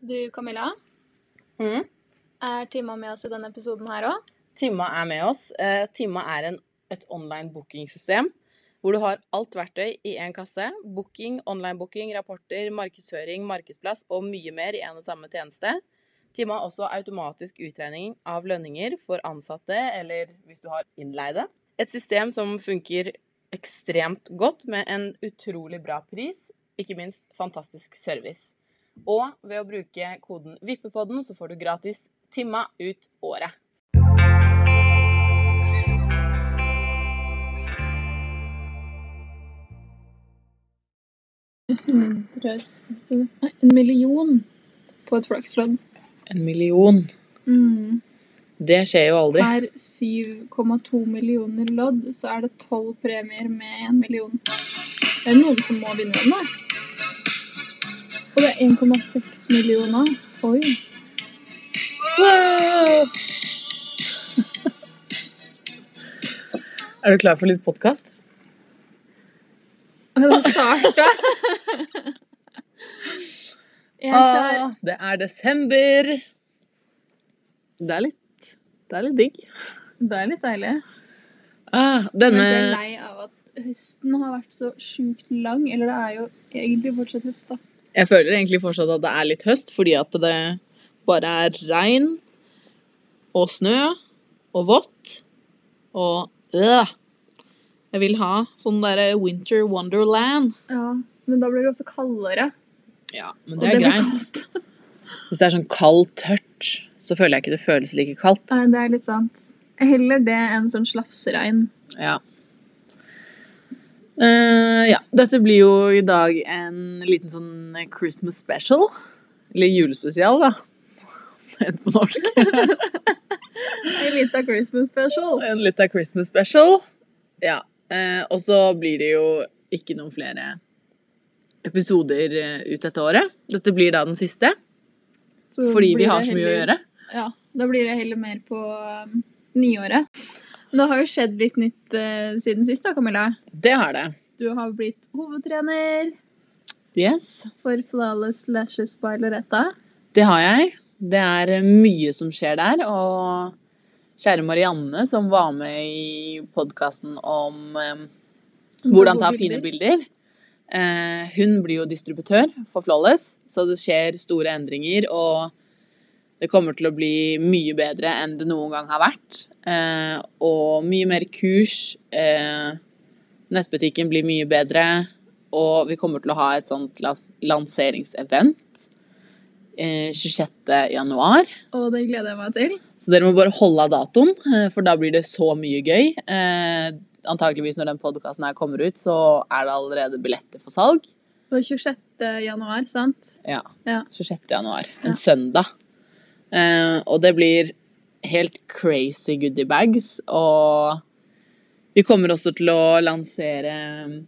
Du, Camilla, Mm. er Timma med oss i denne episoden her òg? Timma er med oss. Eh, Timma er en, et online bookingsystem hvor du har alt verktøy i én kasse. Booking, online booking, rapporter, markedsføring, markedsplass og mye mer i en og samme tjeneste. Timma har også automatisk utregning av lønninger for ansatte eller hvis du har innleide. Et system som funker ekstremt godt med en utrolig bra pris, ikke minst fantastisk service. Og ved å bruke koden Vippepodden så får du gratis Timma ut året. Mm, En million på et flakslodd. En million. Det skjer jo aldri. Per 7,2 millioner lodd så er det tolv premier med en million. Det er noen som må vinne den, da. Og det er 1,6 millioner. Oi. Er du klar for litt podkast? Og det starta. Jeg er klar. Ah, det er desember. Det er litt Det er litt digg. Det er litt deilig. Ah, Men jeg er denne lei av at høsten har vært så sjukt lang. Eller det er jo egentlig fortsatt høst, da. Jeg føler egentlig fortsatt at det er litt høst, fordi at det bare er regn og snø og vått og øh. Jeg vil ha sånn derre winter wonderland. Ja, Men da blir det også kaldere. Ja, men og det er blir greit. kaldt. Hvis det er sånn kaldt, tørt, så føler jeg ikke det føles like kaldt. Nei, det er litt sant. Heller det enn sånn slafseregn. Ja. Eh, ja. Dette blir jo i dag en liten sånn Christmas special. Eller julespesial, da. som Det heter på norsk. En liten Christmas special. En liten Christmas special. Ja. eh, og så blir det jo ikke noen flere episoder eh, ut dette året. Dette blir da den siste, Så fordi vi blir har det så mye å heller- gjøre. Ja, Da blir det heller mer på um, nyåret. Men det har jo skjedd litt nytt eh, siden sist, da, Camilla. Det har det. Du har blitt hovedtrener Yes. for Flawless Lashes by Loretta. Det har jeg. Det er eh, mye som skjer der, og kjære Marianne, som var med i podkasten om eh, hvordan ta fine bilder, eh, hun blir jo distributør for Flawless, så det skjer store endringer, og det kommer til å bli mye bedre enn det noen gang har vært. Eh, og mye mer kurs. Eh, nettbutikken blir mye bedre, og vi kommer til å ha et sånt las- lanseringsevent. eh, 26. januar. Og det gleder jeg meg til. Så dere må bare holde av datoen, eh, for da blir det så mye gøy. Eh, antakeligvis når den podkasten her kommer ut, så er det allerede billetter for salg. Det var 26. januar, sant? Ja. Ja. 26. januar. En Ja. søndag. Eh, og det blir helt crazy goodie bags, og vi kommer også til å lansere mm,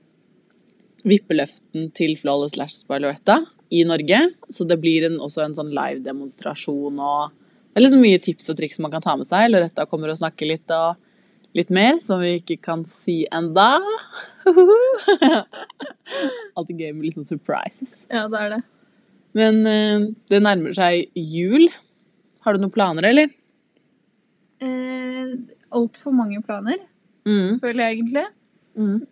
vippeløften til Flawless Lash by Loretta i Norge, så det blir en, også en sånn live demonstrasjon og det er liksom mye tips og triks man kan ta med seg. Loretta kommer og snakker litt og litt mer, som vi ikke kan si enda. Alltid gøy med litt sånn surprises. Ja, det er det. Men eh, det nærmer seg jul. Har du noen planer, eller? Eh, Altfor mange planer, Mm. føler jeg egentlig.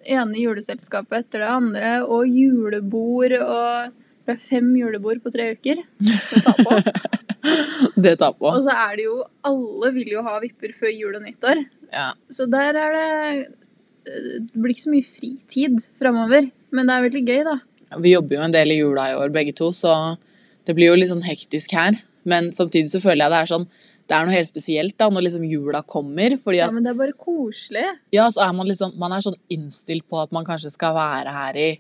ene juleselskapet etter det andre, og julebord og Det er fem julebord på tre uker. å ta på. Det tar på. Og så er det jo Alle vil jo ha vipper før jul og nyttår. Ja. Så der er det eh, Det blir ikke så mye fritid framover. Men det er veldig gøy, da. Vi jobber jo en del i jula i år, begge to, så det blir jo litt sånn hektisk her. Men samtidig så føler jeg det er sånn Det er noe helt spesielt da, når liksom jula kommer. fordi Ja, at, Men det er bare koselig. ja, så er man liksom Man er sånn innstilt på at man kanskje skal være her i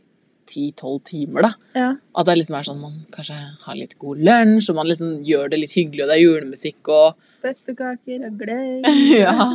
10-12 timer, da. Ja. At det liksom er sånn man kanskje har litt god lunsj, og man liksom gjør det litt hyggelig, og det er julemusikk og Pepperkaker og gløgg. Ja.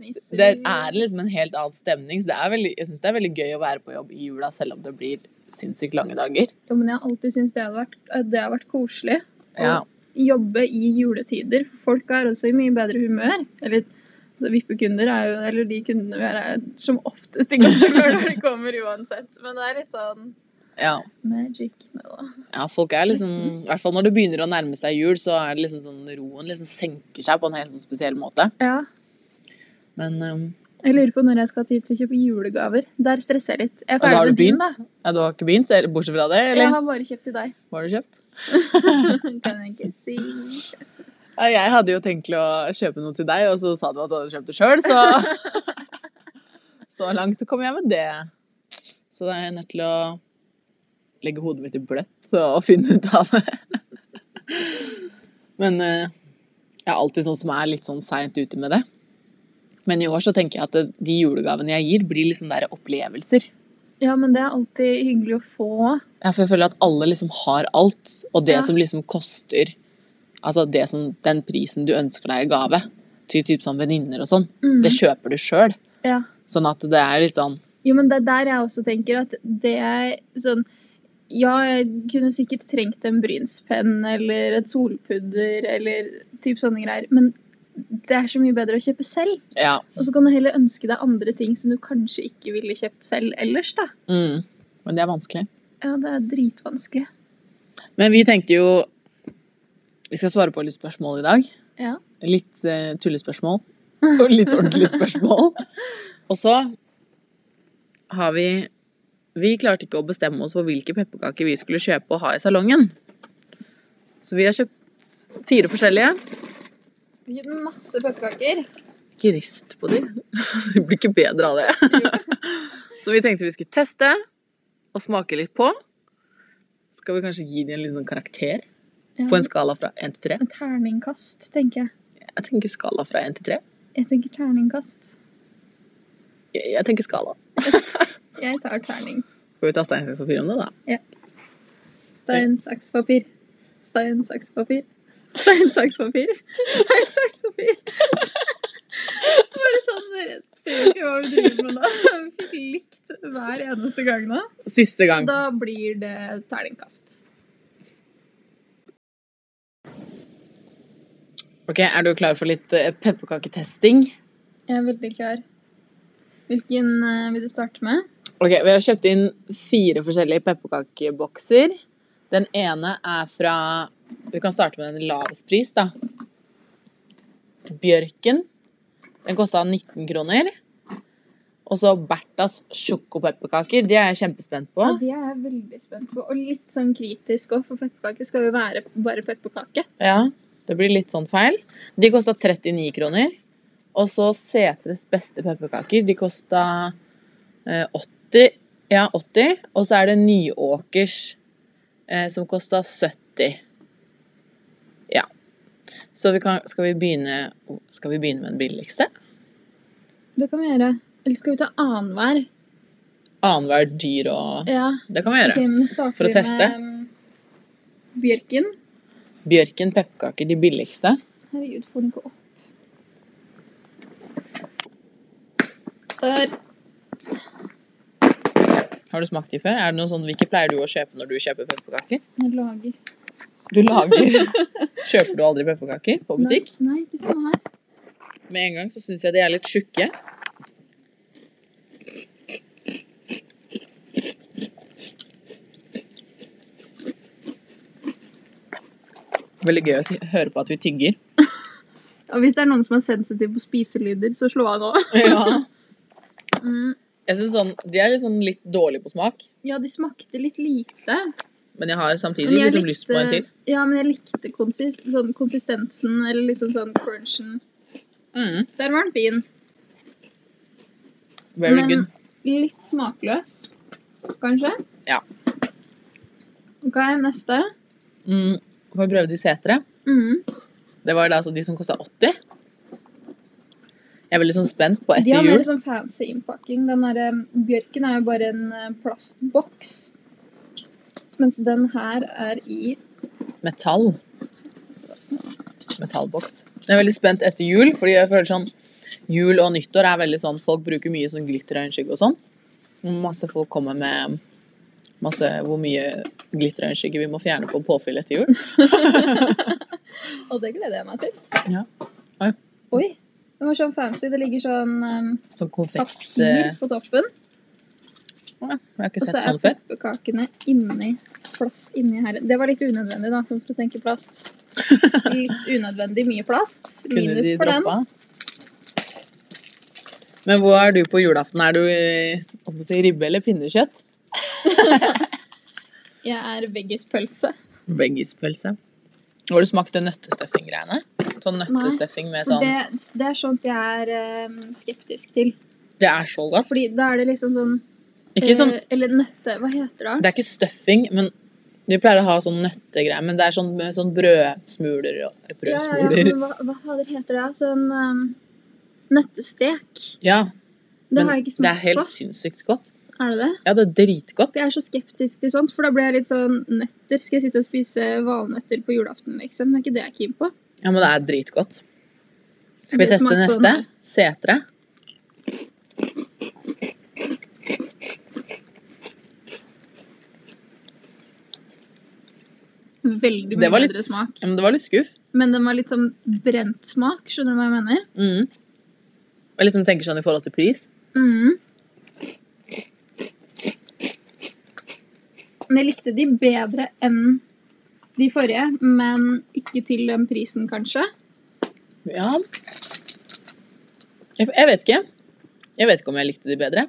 nisser. Det Mm. er liksom en helt annen stemning. Så det er veldig, jeg syns det er veldig gøy å være på jobb i jula, selv om det blir sinnssykt lange dager. Ja, men jeg har alltid syntes det, har vært- at det har vært koselig. Ja. jobbe i juletider, for folk er også i mye bedre humør. Eller altså, vippekunder er jo Eller de kundene vi har, er som oftest i godt humør når de kommer uansett. Men det er litt sånn Ja. Magic. Nei da. ja, folk er liksom I hvert fall når det begynner å nærme seg jul, så er det liksom sånn roen liksom senker seg på en helt sånn spesiell måte. Ja. Men um, Jeg lurer på når jeg skal ha tid til å kjøpe julegaver. Der stresser jeg litt. Jeg er Og da har ferdig du med din, da. begynt? Ja, du har ikke begynt, eller bortsett fra det? Jeg Eller har bare kjøpt til deg. hva har du kjøpt? kan jeg ikke si. Ja, jeg hadde jo tenkt til å kjøpe noe til deg, og så sa du at du hadde kjøpt det sjøl, så Så langt kom jeg med det. Så da er jeg nødt til å legge hodet mitt i bløtt og finne ut av det. Men eh, jeg er alltid sånn som er litt sånn seint ute med det. Men i år så tenker jeg at det- de julegavene jeg gir, blir liksom der opplevelser. Ja, men det er alltid hyggelig å få. Ja, for jeg føler at alle liksom har alt, og det Ja. som liksom koster Altså det som, den prisen du ønsker deg i gave til typ sånn venninner og sånn, Mm. det kjøper du sjøl. Ja. Sånn at det er litt sånn Jo, men det er der jeg også tenker at det er sånn Ja, jeg kunne sikkert trengt en brynspenn eller et solpudder eller typ sånne greier, men det er så mye bedre å kjøpe selv. Ja. Og så kan du heller ønske deg andre ting som du kanskje ikke ville kjøpt selv ellers, da. Mm. Men det er vanskelig. Ja, det er dritvanskelig. Men vi tenkte jo Vi skal svare på litt spørsmål i dag. Ja. Litt eh, tullespørsmål og litt ordentlige spørsmål. Og så har vi Vi klarte ikke å bestemme oss for hvilke pepperkaker vi skulle kjøpe og ha i salongen. Så vi har kjøpt fire forskjellige. Masse pepperkaker. Ikke rist på de. Det blir ikke bedre av det. Så vi tenkte vi skulle teste og smake litt på. Skal vi kanskje gi de en liten karakter Ja. på en skala fra 1 til 3? En terningkast, tenker jeg. Jeg tenker skala fra 1 til 3. Jeg tenker terningkast. Jeg jeg tenker skala. Jeg tar terning. Skal vi ta stein, saks, papir om det, da? Stein, saks, papir. Stein, saks, papir. Stein, saks, papir. Stein, saks, papir. Bare sånn rett. Ser ikke hva vi driver med da. Vi fikk likt hver eneste gang nå. Siste Så gang. da blir det terningkast. Ok, Er du klar for litt eh, pepperkaketesting? Jeg er veldig klar. Hvilken eh, vil du starte med? Ok, Vi har kjøpt inn fire forskjellige pepperkakebokser. Den ene er fra Vi kan starte med den lavest pris, da. Bjørken. Den kosta 19 kroner. Og så Berthas sjokopepperkaker. De er jeg kjempespent på. Ja, det er jeg veldig spent på, og litt sånn kritisk òg, for pepperkake skal jo være bare pepperkake. Ja, det blir litt sånn feil. De kosta 39 kroner. Og så Setres beste pepperkaker. De kosta eh, 80. Ja, 80. Og så er det Nyåkers eh, som kosta 70. Ja. Så vi kan, skal, vi begynne, skal vi begynne med den billigste? Det kan vi gjøre. Eller skal vi ta annenhver? Annenhver dyr og Ja. Det kan vi Ok, gjøre. men da starter For å vi teste. med mm, bjørken. Bjørken pepperkaker, de billigste. Herregud, får den ikke opp. Der. Har du smakt de før? Er det noen sånn, Hvilke pleier du å kjøpe når du kjøper pepperkaker? Jeg lager. Du lager Kjøper du aldri pepperkaker på butikk? Nei, nei, ikke sånn her. Med en gang så syns jeg de er litt tjukke. Veldig gøy å ty- høre på at vi tygger. Og hvis det er noen som er sensitiv på spiselyder, så slå av nå. Ja. Mm. Jeg synes sånn, De er litt, sånn litt dårlige på smak, Ja, de smakte litt lite. men jeg har samtidig Men jeg liksom lyst på en til. Ja, men jeg likte konsis sånn konsistensen, eller liksom sånn crunchen. Mm, Der var den fin. very men good. litt smakløs, kanskje? Ja. Ok, neste. Mm, får vi prøve de setre? Mm. Det var da altså de som kosta 80. Jeg er veldig sånn spent på De etter har mer jul. sånn fancy innpakking. Den der, eh, bjørken er jo bare en eh, plastboks. Mens den her er i metall. Metallboks. Jeg er veldig spent etter jul, fordi jeg føler sånn Jul og nyttår er veldig sånn Folk bruker mye sånn glitterøyenskygge og sånn. Masse folk kommer med masse hvor mye glitterøyenskygge vi må fjerne på påfyll etter jul. Og det gleder jeg meg til. Ja. Oi. Oi. Den var sånn fancy. Det ligger sånn eh, Sånn konfekt papir eh, på toppen. Å, Jeg har ikke Og så sett er sånn før. pepperkakene inni plast inni her. Det var litt unødvendig, da, sånn for å tenke plast. Litt unødvendig mye plast. Kunne Minus de for den. droppa? Men hvor er du på julaften? Er du eh, holdt på å si, ribbe eller pinnekjøtt? Jeg er veggispølse. Veggispølse. Har du smakt det nøttestuffing-greiene? Sånn nøttestuffing med For sånn det... det, det er sånt jeg er eh, skeptisk til. er så godt. Fordi da er det liksom sånn, Ikke sånn eh, Eller nøtte... Hva heter det? Det er ikke stuffing, men vi pleier å ha sånn nøttegreier. Men det er sånn, med sånn brødsmuler og eh, Ja, ja, ja, brødsmuler. men hva, hva fader heter det? Sånn ehm, nøttestek. Ja, Det men har jeg ikke det er smakt helt på. sinnssykt godt. Er det det? Ja, det er dritgodt. Jeg er så skeptisk til sånt, for da blir jeg litt sånn Nøtter? Skal jeg sitte og spise valnøtter på julaften, liksom? Det er ikke det jeg er keen på. Ja, men det er dritgodt. Skal vi Det teste smaker på den neste? her. Setre. Veldig Det mye var litt, bedre smak. ja, men det var litt skuff. Men den var litt sånn brent smak, skjønner du hva jeg mener? Mm. Jeg liksom tenker sånn i forhold til pris. Mm. Men jeg likte de bedre enn de forrige, men ikke til den prisen, kanskje. Ja. Jeg, jeg vet ikke. Jeg vet ikke om jeg likte de bedre.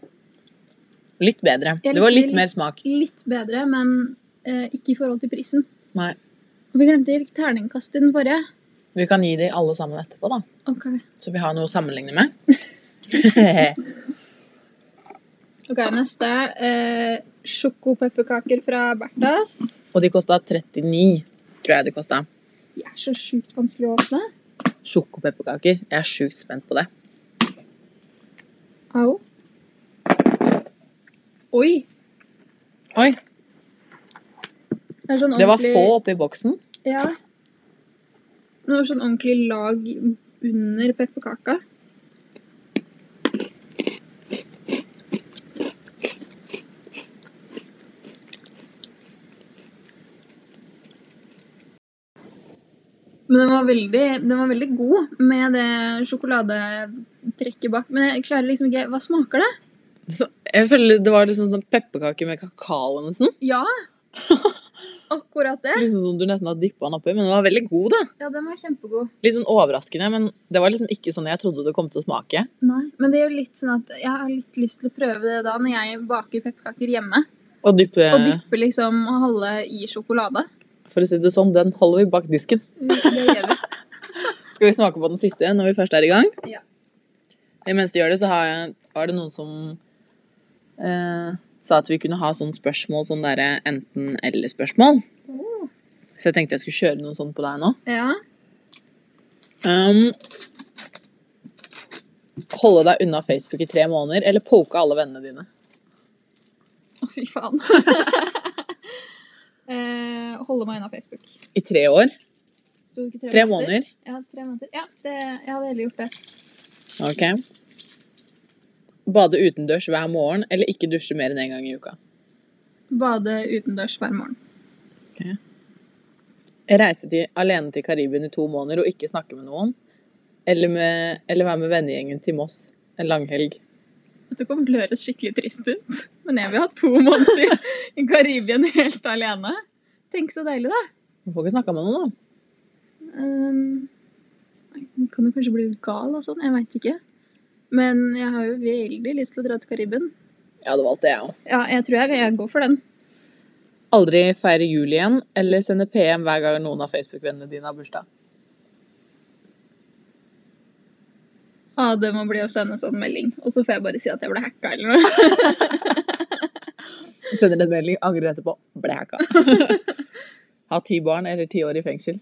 Litt bedre. Jeg Det var likte litt de mer smak. Litt bedre, men eh, ikke i forhold til prisen. Nei. Og vi glemte hvilket terningkast i den forrige. Vi kan gi de alle sammen etterpå, da. Ok, Så vi har noe å sammenligne med. Ok, neste. Eh, Sjokopepperkaker fra Bertas. og de kosta 39, tror jeg de kosta. De er så sjukt vanskelig å åpne. Sjokopepperkaker. Jeg er sjukt spent på det. Au. Oi! Oi, Det, er sånn det var ordentlig- få oppi boksen. Ja. Det var sånn ordentlig lag under pepperkaka. Men den var, veldig, den var veldig god med det sjokoladetrekket bak. Men jeg klarer liksom ikke Hva smaker det? Så jeg føler Det var liksom sånn pepperkake med kakao nesten. Ja! Akkurat det. Liksom som du nesten har dyppa den oppi. Men den var veldig god, da. Ja, den var kjempegod. Litt sånn overraskende, men det var liksom ikke sånn jeg trodde det kom til å smake. Nei, men det er jo litt sånn at jeg har litt lyst til å prøve det da når jeg baker pepperkaker hjemme. Og dyppe, Og dypper liksom halve i sjokolade. for å si det sånn, den holder vi bak disken. Det gjør vi. Skal vi smake på den siste når vi først er i gang? Ja. Mens du gjør det, så har jeg, var det noen som eh, sa at vi kunne ha sånn spørsmål, sånn derre enten-eller-spørsmål. Oh. Så jeg tenkte jeg skulle kjøre noe sånt på deg nå. Ja. Um, holde deg unna Facebook i tre måneder, eller poke alle vennene dine? Å, fy faen. eh, holde meg unna Facebook. I tre år? Sto det ikke Tre måneder? Ja, tre måneder. Ja, det, jeg hadde heller gjort det. Ok. Bade utendørs hver morgen, eller ikke dusje mer enn én en gang i uka? Bade utendørs hver morgen. Reise til, alene til Karibien i to måneder og ikke snakke med noen. Eller, med, eller være med vennegjengen til Moss en langhelg. Dette kommer til å høres skikkelig trist ut, men jeg vil ha to måneder i Karibien helt alene. Tenk så deilig, da. Du får ikke snakka med noen, da. Um, jeg kan jo kanskje bli litt gal og sånn, jeg veit ikke. Men jeg har jo veldig lyst til å dra til Karibien. Ja, det valgte jeg òg. Ja, jeg tror jeg, jeg går for den. Aldri feire jul igjen, eller sende PM hver gang noen av Facebook-vennene dine har bursdag. Ja, det må bli å sende sånn melding. Og så får jeg bare si at jeg ble hacka eller noe. Sender en melding, angrer etterpå. Ble hacka. ha ti barn eller ti år i fengsel.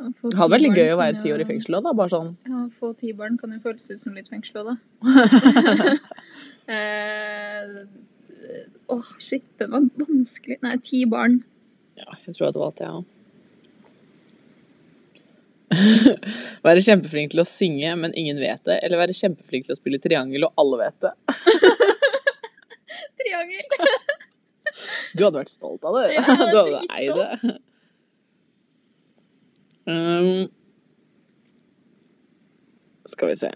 Å få Det hadde vært ti barn litt gøy å kan være jo- ti år i fengsel òg, da. Bare sånn Ja, å få ti barn kan jo føles ut som litt fengsel òg, da. Eh, Åh, shit, den var vanskelig. Nei, ti barn. Ja, jeg tror at det var alt jeg òg. være kjempeflink til å synge, men ingen vet det. Eller være kjempeflink til å spille triangel, og alle vet det. Triangel! Du hadde vært stolt av det. Ja, jeg du var hadde eid det. Um, skal vi se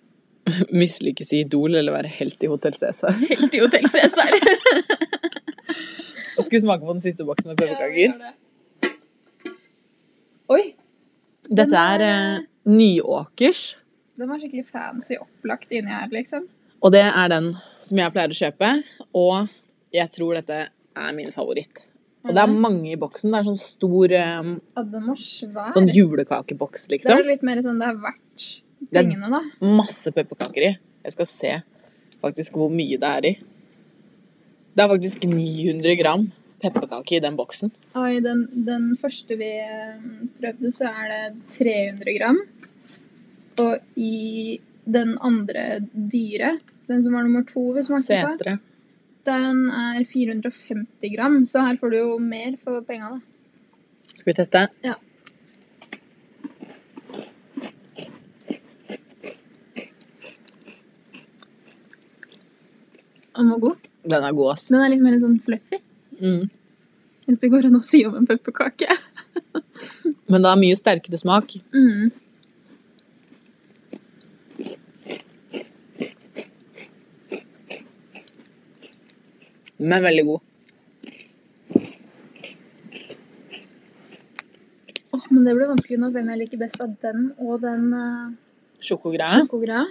Mislykkes i Idol eller være helt i Hotell Cæsar. Helt i Hotell Cæsar. Jeg skulle smake på den siste boksen med pepperkaker. Oi, Dette er eh, Nyåkers, den var skikkelig fancy opplagt inni her, liksom. og det er den som jeg pleier å kjøpe. Og jeg tror dette er min favoritt. Og det er mange i boksen. Det er sånn stor eh, Mm. Ja, den var svær. sånn julekakeboks, Da er liksom. Ah, det litt mer sånn det er verdt Det er- pengene, da. Masse pepperkaker i. Jeg skal se faktisk hvor mye det er i. Det er faktisk 900 gram pepperkake i den boksen. Og i den, den første vi eh, prøvde, så er det 300 gram. Og i den andre dyre, den som var nummer to vi smakte på, Setre. den er 450 gram. Så her får du jo mer for penga, da. Skal vi teste? Ja. Den var god. Den er god, ass. Den er litt mer sånn fluffy. Mm. Hvis det går an å si om en pepperkake. Men det er mye sterkere smak. Mm. Men veldig god. Åh, men det blir vanskelig nå hvem jeg liker best av den og den uh, Sjokogreie. sjokogreia.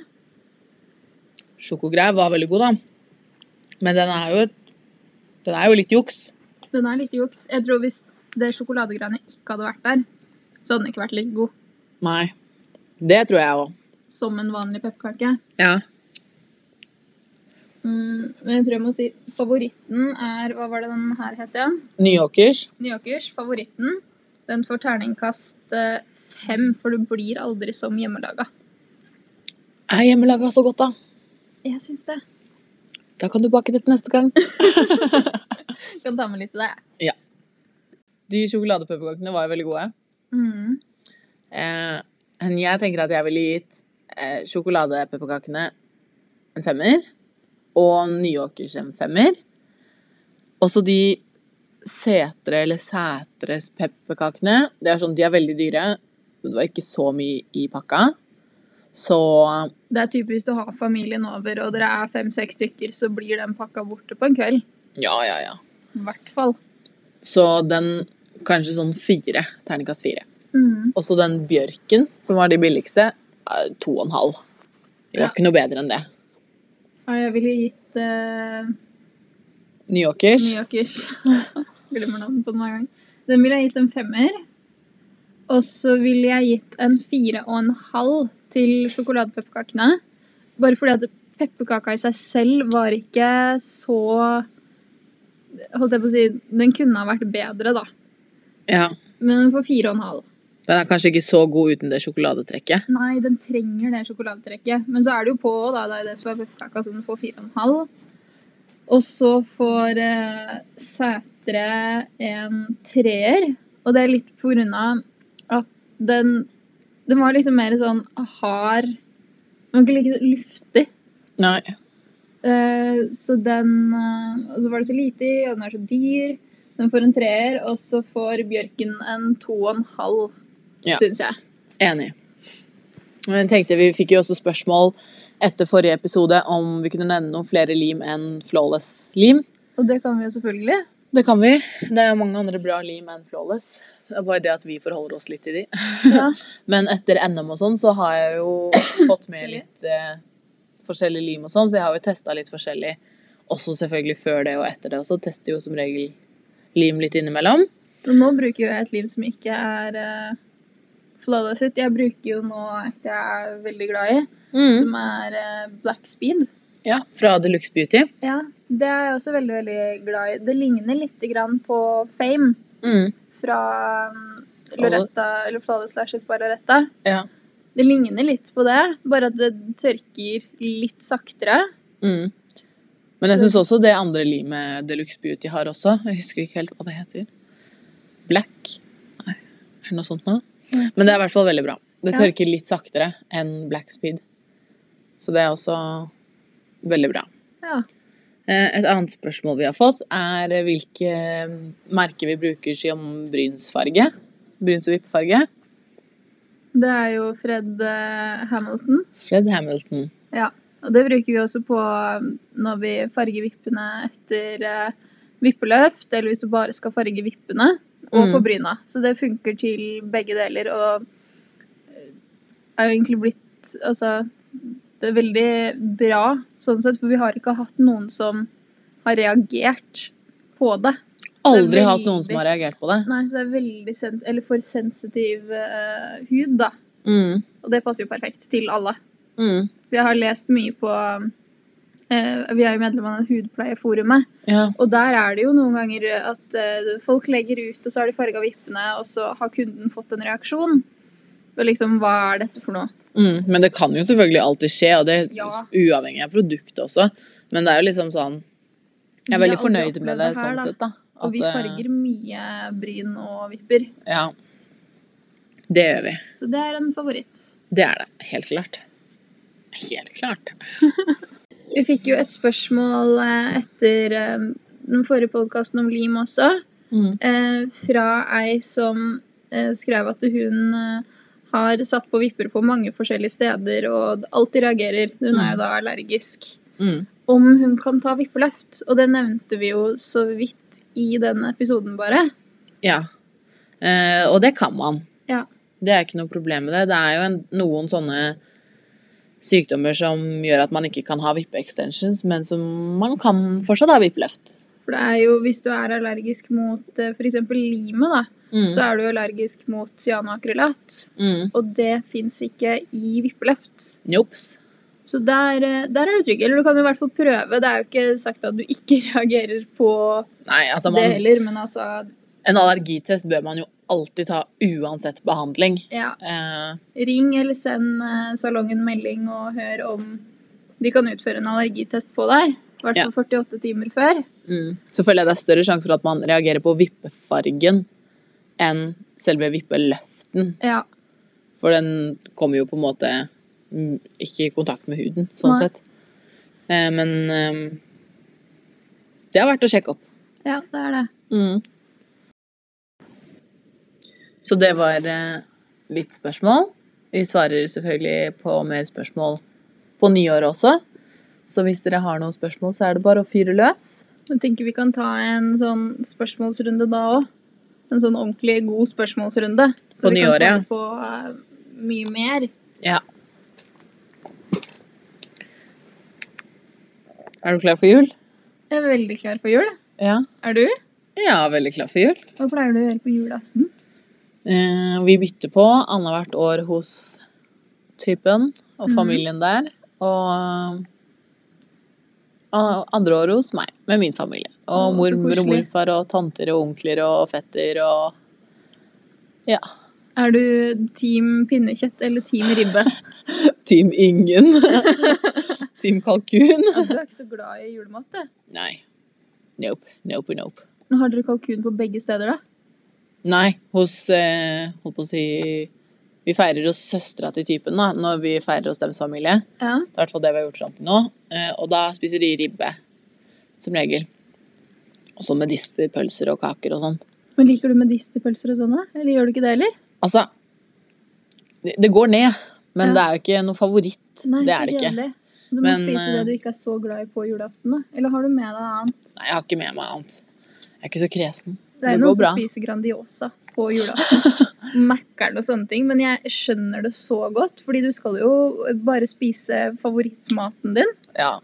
Sjokogreie var veldig god, da. Men den er jo, den er jo litt juks. Den er litt juks. Jeg tror hvis det sjokoladegreiene ikke hadde vært der, så hadde den ikke vært like god Nei. Det tror jeg òg. som en vanlig pepperkake. Ja. Mm, men jeg tror jeg må si favoritten er Hva var det den her het igjen? Nyåkers. Nyåkers. Favoritten. Den får terningkast eh, fem, for du blir aldri som hjemmelaga. Er hjemmelaga så godt, da? Jeg syns det. Da kan du bake det til neste gang. Kan ta med litt til deg. De sjokoladepepperkakene var jo veldig gode. Mm. Eh, men jeg tenker at jeg ville gitt eh, sjokoladepepperkakene en femmer. Og Nyåkers en femmer. Også de Setre eller Sætres pepperkakene. Det er sånn, de er veldig dyre. men Det var ikke så mye i pakka. Så Det er typisk hvis du har familien over og dere er fem-seks stykker, så blir den pakka borte på en kveld. ja, ja, ja. I hvert fall. Så den kanskje sånn fire. Terningkast fire. Mm. Også den bjørken, som var de billigste, er to og en halv. Det var Ja. ikke noe bedre enn det. Og jeg ville gitt eh, Nyåkers. Nyåkers. Glemmer navnet på den hver gang. Den ville jeg gitt en femmer. Og så ville jeg gitt en fire og en halv til sjokoladepepperkakene. Bare fordi at pepperkaka i seg selv var ikke så Holdt jeg på å si Den kunne ha vært bedre, da. Ja. Men den får fire og en halv. Den er kanskje ikke så god uten det sjokoladetrekket. Nei, den trenger det sjokoladetrekket. Men så er det jo på, da. Det er det som er pepperkaka, så den får fire og en halv. Og så får eh, Sætre en treer. Og det er litt på grunn av at den Den var liksom mer sånn hard Den var ikke like luftig. Nei. Eh, så den eh, Og så var det så lite i, og den er så dyr. Den får en treer, og så får Bjørken en to og en halv, Ja. syns jeg. Enig. Men jeg tenkte Vi fikk jo også spørsmål etter forrige episode om vi kunne nevne noen flere lim enn flawless lim. Og det kan vi jo selvfølgelig. Det kan vi. Det er jo mange andre bra lim enn flawless. Det er bare det at vi forholder oss litt til de. Ja. Men etter NM og sånn, så har jeg jo fått med Silje. litt eh, forskjellig lim og sånn, så jeg har jo testa litt forskjellig også selvfølgelig før det og etter det også. Tester jo som regel lim litt innimellom. Men nå bruker jo jeg et liv som ikke er uh, flawless sitt. Jeg bruker jo nå et jeg er veldig glad i, Mm. som er eh, black speed. Ja, Fra Deluxe Beauty. Ja, det er jeg også veldig, veldig glad i. Det ligner litt grann på Fame Mm. fra um, Loretta, eller flawless lashes by Loretta. Ja. Det ligner litt på det, bare at det tørker litt saktere. Mm. Men jeg Så- syns også det andre limet Deluxe Beauty har også. Jeg husker ikke helt hva det heter. Black? Nei, er det noe sånt nå? Nei. Men det er i hvert fall veldig bra. Det Ja. tørker litt saktere enn Black Speed. Så det er også veldig bra. Ja. Eh, Et annet spørsmål vi har fått, er eh, hvilke merker vi bruker som brynsfarge. Bryns- og vippefarge. Det er jo Fred eh, Hamilton. Fred Hamilton. Ja, og det bruker vi også på um, når vi farger vippene etter eh, vippeløft, eller hvis du bare skal farge vippene, og på Mm. bryna. Så det funker til begge deler, og eh, er jo egentlig blitt Altså, det er veldig bra sånn sett, for vi har ikke hatt noen som har reagert på det. Aldri Det er hatt noen veldig- som har reagert på det. Nei, så det er veldig sens eller for sensitiv eh, hud, da. Mm. Og det passer jo perfekt til alle. Mm. For Jeg har lest mye på eh, Vi er jo medlem av Hudpleieforumet, Ja. og der er det jo noen ganger at eh, folk legger ut, og så har de farga vippene, og så har kunden fått en reaksjon. Og liksom, hva er dette for noe? Mm. Men det kan jo selvfølgelig alltid skje, og det er Ja. uavhengig av produktet også. Men det er jo liksom sånn Jeg er Vi har veldig aldri fornøyd med opplevd det, det her, sånn da. sett, da. Og vi eh, farger mye bryn og vipper, Ja. Det gjør vi. så det er en favoritt. Det er det. Helt klart. Helt klart. Vi fikk jo et spørsmål eh, etter eh, den forrige podkasten om lim også, Mm. eh, fra ei som eh, skrev at hun eh, har satt på vipper på mange forskjellige steder og alltid reagerer. Hun er jo da allergisk. Mm. Om hun kan ta vippeløft, og det nevnte vi jo så vidt i den episoden, bare. Ja. Eh, og det kan man. Ja. Det er ikke noe problem med det. Det er jo en, noen sånne sykdommer som gjør at man ikke kan ha vippeextensions, men som man kan fortsatt ha vippeløft. For det er jo, hvis du er allergisk mot eh, for eksempel limet, da, Mm. så er du allergisk mot cyanakrylat. Mm. Og det fins ikke i vippeløft. Jops. Så der, eh, der er du trygg. Eller du kan jo i hvert fall prøve. Det er jo ikke sagt at du ikke reagerer på Nei, altså det man, heller, men altså en allergitest bør man jo alltid ta uansett behandling. ja. Eh, Ring eller send eh, salongen melding og hør om de kan utføre en allergitest på deg. I hvert Ja. fall 48 timer før. mm. Så føler jeg det er større sjanse for at man reagerer på vippefargen enn selve vippeløften. Ja. For den kommer jo på en måte mm, ikke i kontakt med huden, sånn Nei. sett. Eh, men eh, det er verdt å sjekke opp. ja, det er det. Mm. Så det var eh, litt spørsmål. Vi svarer selvfølgelig på mer spørsmål på nyåret også. Så hvis dere har noen spørsmål, så er det bare å fyre løs. Jeg tenker vi kan ta en sånn spørsmålsrunde da òg. En sånn ordentlig god spørsmålsrunde. Så På vi nyåret, ja. kan svare på eh, mye mer. Ja. Er du klar for jul? Jeg er veldig klar for jul. Ja. Er du? Ja, veldig klar for jul. Hva pleier du å gjøre på julaften? Eh, vi bytter på annethvert år hos typen og Mhm. familien der. Og eh, andre år hos meg, med min familie. Og Å, så mormor og koselig. morfar og tanter og onkler og fetter og Ja. Er du team pinnekjøtt eller team ribbe? Team Ingen. Team Kalkun. Ja, Altså, Du er ikke så glad i julemat, du. Nei. Nope, nope, nope. Nå har dere kalkun på begge steder, da. Nei, hos eh, Holdt på å si Vi feirer hos søstera til typen, da, når vi feirer hos deres familie. Ja. Det er i hvert fall det vi har gjort fram til nå. Eh, og da spiser de ribbe, som regel. Og sånn med medisterpølser og kaker og sånn. Men liker du medisterpølser og sånn, da? Eller gjør du ikke det heller? Altså Det, det går ned, men Ja. det er jo ikke noe favoritt. Nei, Det så er det ikke. kjedelig. Du må Men, spise det eh, du ikke er så glad i på julaften, da. Eller har du med deg annet? Nei, jeg har ikke med meg annet. Jeg er ikke så kresen. Det er det noen går som bra. spiser Grandiosa på julaften. Mækkern og sånne ting. Men jeg skjønner det så godt, fordi du skal jo bare spise favorittmaten din. Ja,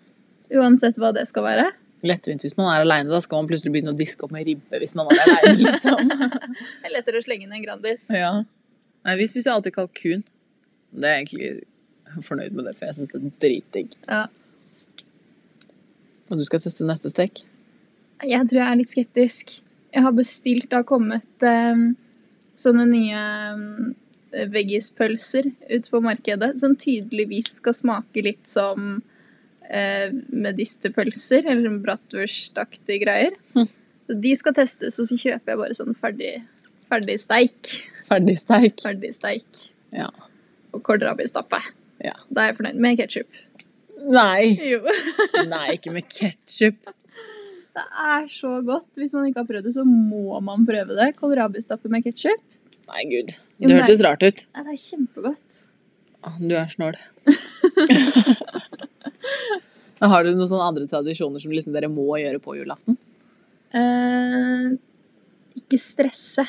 Uansett hva det skal være. Lettvint hvis man er aleine. Da skal man plutselig begynne å diske opp med ribbe hvis man er aleine, liksom. Det er lettere å slenge inn en Grandis. ja. Nei, vi spiser alltid kalkun. Det er jeg egentlig fornøyd med det, for jeg syns det er dritdigg. Ja. Og du skal teste neste stek? Jeg tror jeg er litt skeptisk. Jeg har bestilt, det har kommet eh, sånne nye eh, veggispølser ut på markedet, som tydeligvis skal smake litt som eh, medisterpølser, eller sånn bratwurstaktige greier. Hm. Så de skal testes, og så kjøper jeg bare sånn ferdig, ferdig steik. Ferdig steik. Ferdig steik. Ja. Og kålrabistappe. Ja. Da er jeg fornøyd med ketsjup. Nei! Jo. Nei, ikke med ketsjup. Det er så godt. Hvis man ikke har prøvd det, så må man prøve det. Kålrabistappe med ketsjup. Nei, gud. Jo, Det men det- hørtes rart ut. Nei, det er kjempegodt. Å, Du er snål. Men Har du noen sånne andre tradisjoner som liksom dere må gjøre på julaften? Eh, ikke stresse.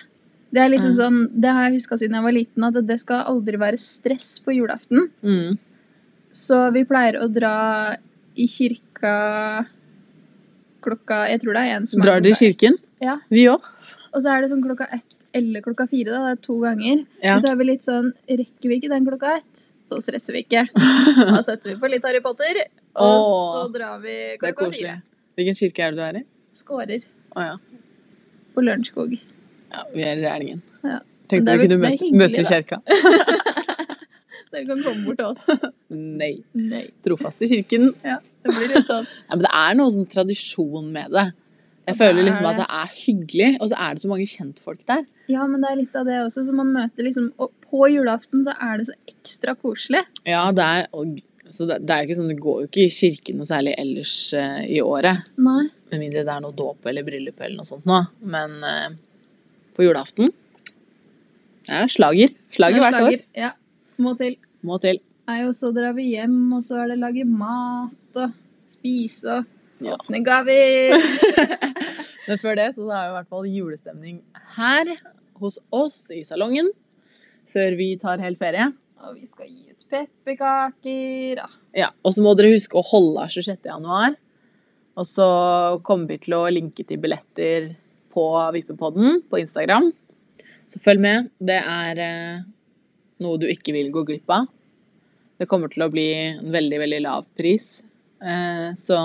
Det er liksom Mm. sånn, det har jeg huska siden jeg var liten, at det skal aldri være stress på julaften. Mm. Så vi pleier å dra i kirka klokka Jeg tror det er en som er Drar dere i klokka ett. kirken? Ja. Vi òg. Og så er det sånn klokka ett eller klokka fire. da, Det er to ganger. Ja. Og så er vi litt sånn Rekker vi ikke den klokka ett, så stresser vi ikke. Da setter vi på litt Harry Potter, og så Åh, drar vi det er klokka koselig. fire. Hvilken kirke er det du er i? Skårer Å ja. på Lørenskog. ja. Vi er i Rælingen. Ja. Men Tenkte det er vi vel- det kunne er møtes hyggelig, møtes i da. kirka. Dere kan komme bort til oss. Nei. Nei. Trofast i kirken. Det blir litt sånn Ja, men det er noe sånn tradisjon med det. Jeg Og føler det er liksom at det. det er hyggelig, og så er det så mange kjentfolk der. Ja, men det er litt av det også. Så man møter liksom Og på julaften så er det så ekstra koselig. Ja, det er, og, så det, det er jo ikke sånn, du går jo ikke i kirken noe særlig ellers eh, i året. Nei. Med mindre det er noe dåp eller bryllup eller noe sånt nå. Men eh, på julaften ja, slager. det Slager er hvert år. slager. Ja. Må til. Må til. Nei, og så drar vi hjem, og så er det lage mat og spise og Ja. åpne gaver. Men før det så er jo i hvert fall julestemning her hos oss i salongen. Før vi tar helt ferie. Og vi skal gi ut pepperkaker. og- Ja, og så må dere huske å holde av 26. januar. Og så kommer vi til å linke til billetter på Vippepodden på Instagram. Så følg med. Det er eh, noe du ikke vil gå glipp av. Det kommer til å bli en veldig, veldig lav pris. Eh, så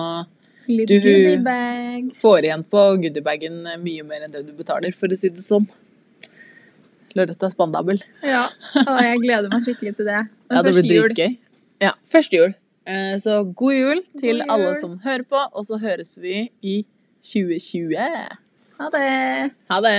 Little Du goodie bags. får igjen på goodiebagen mye mer enn det du betaler, for å si det sånn. Lørdag er spandabel. Ja. Og jeg gleder meg skikkelig til det. Men Ja, det første blir jul. dritgøy. Ja, første jul. Eh, Så god jul til God alle jul. som hører på, og så høres vi i 2020. Ha det. Ha det!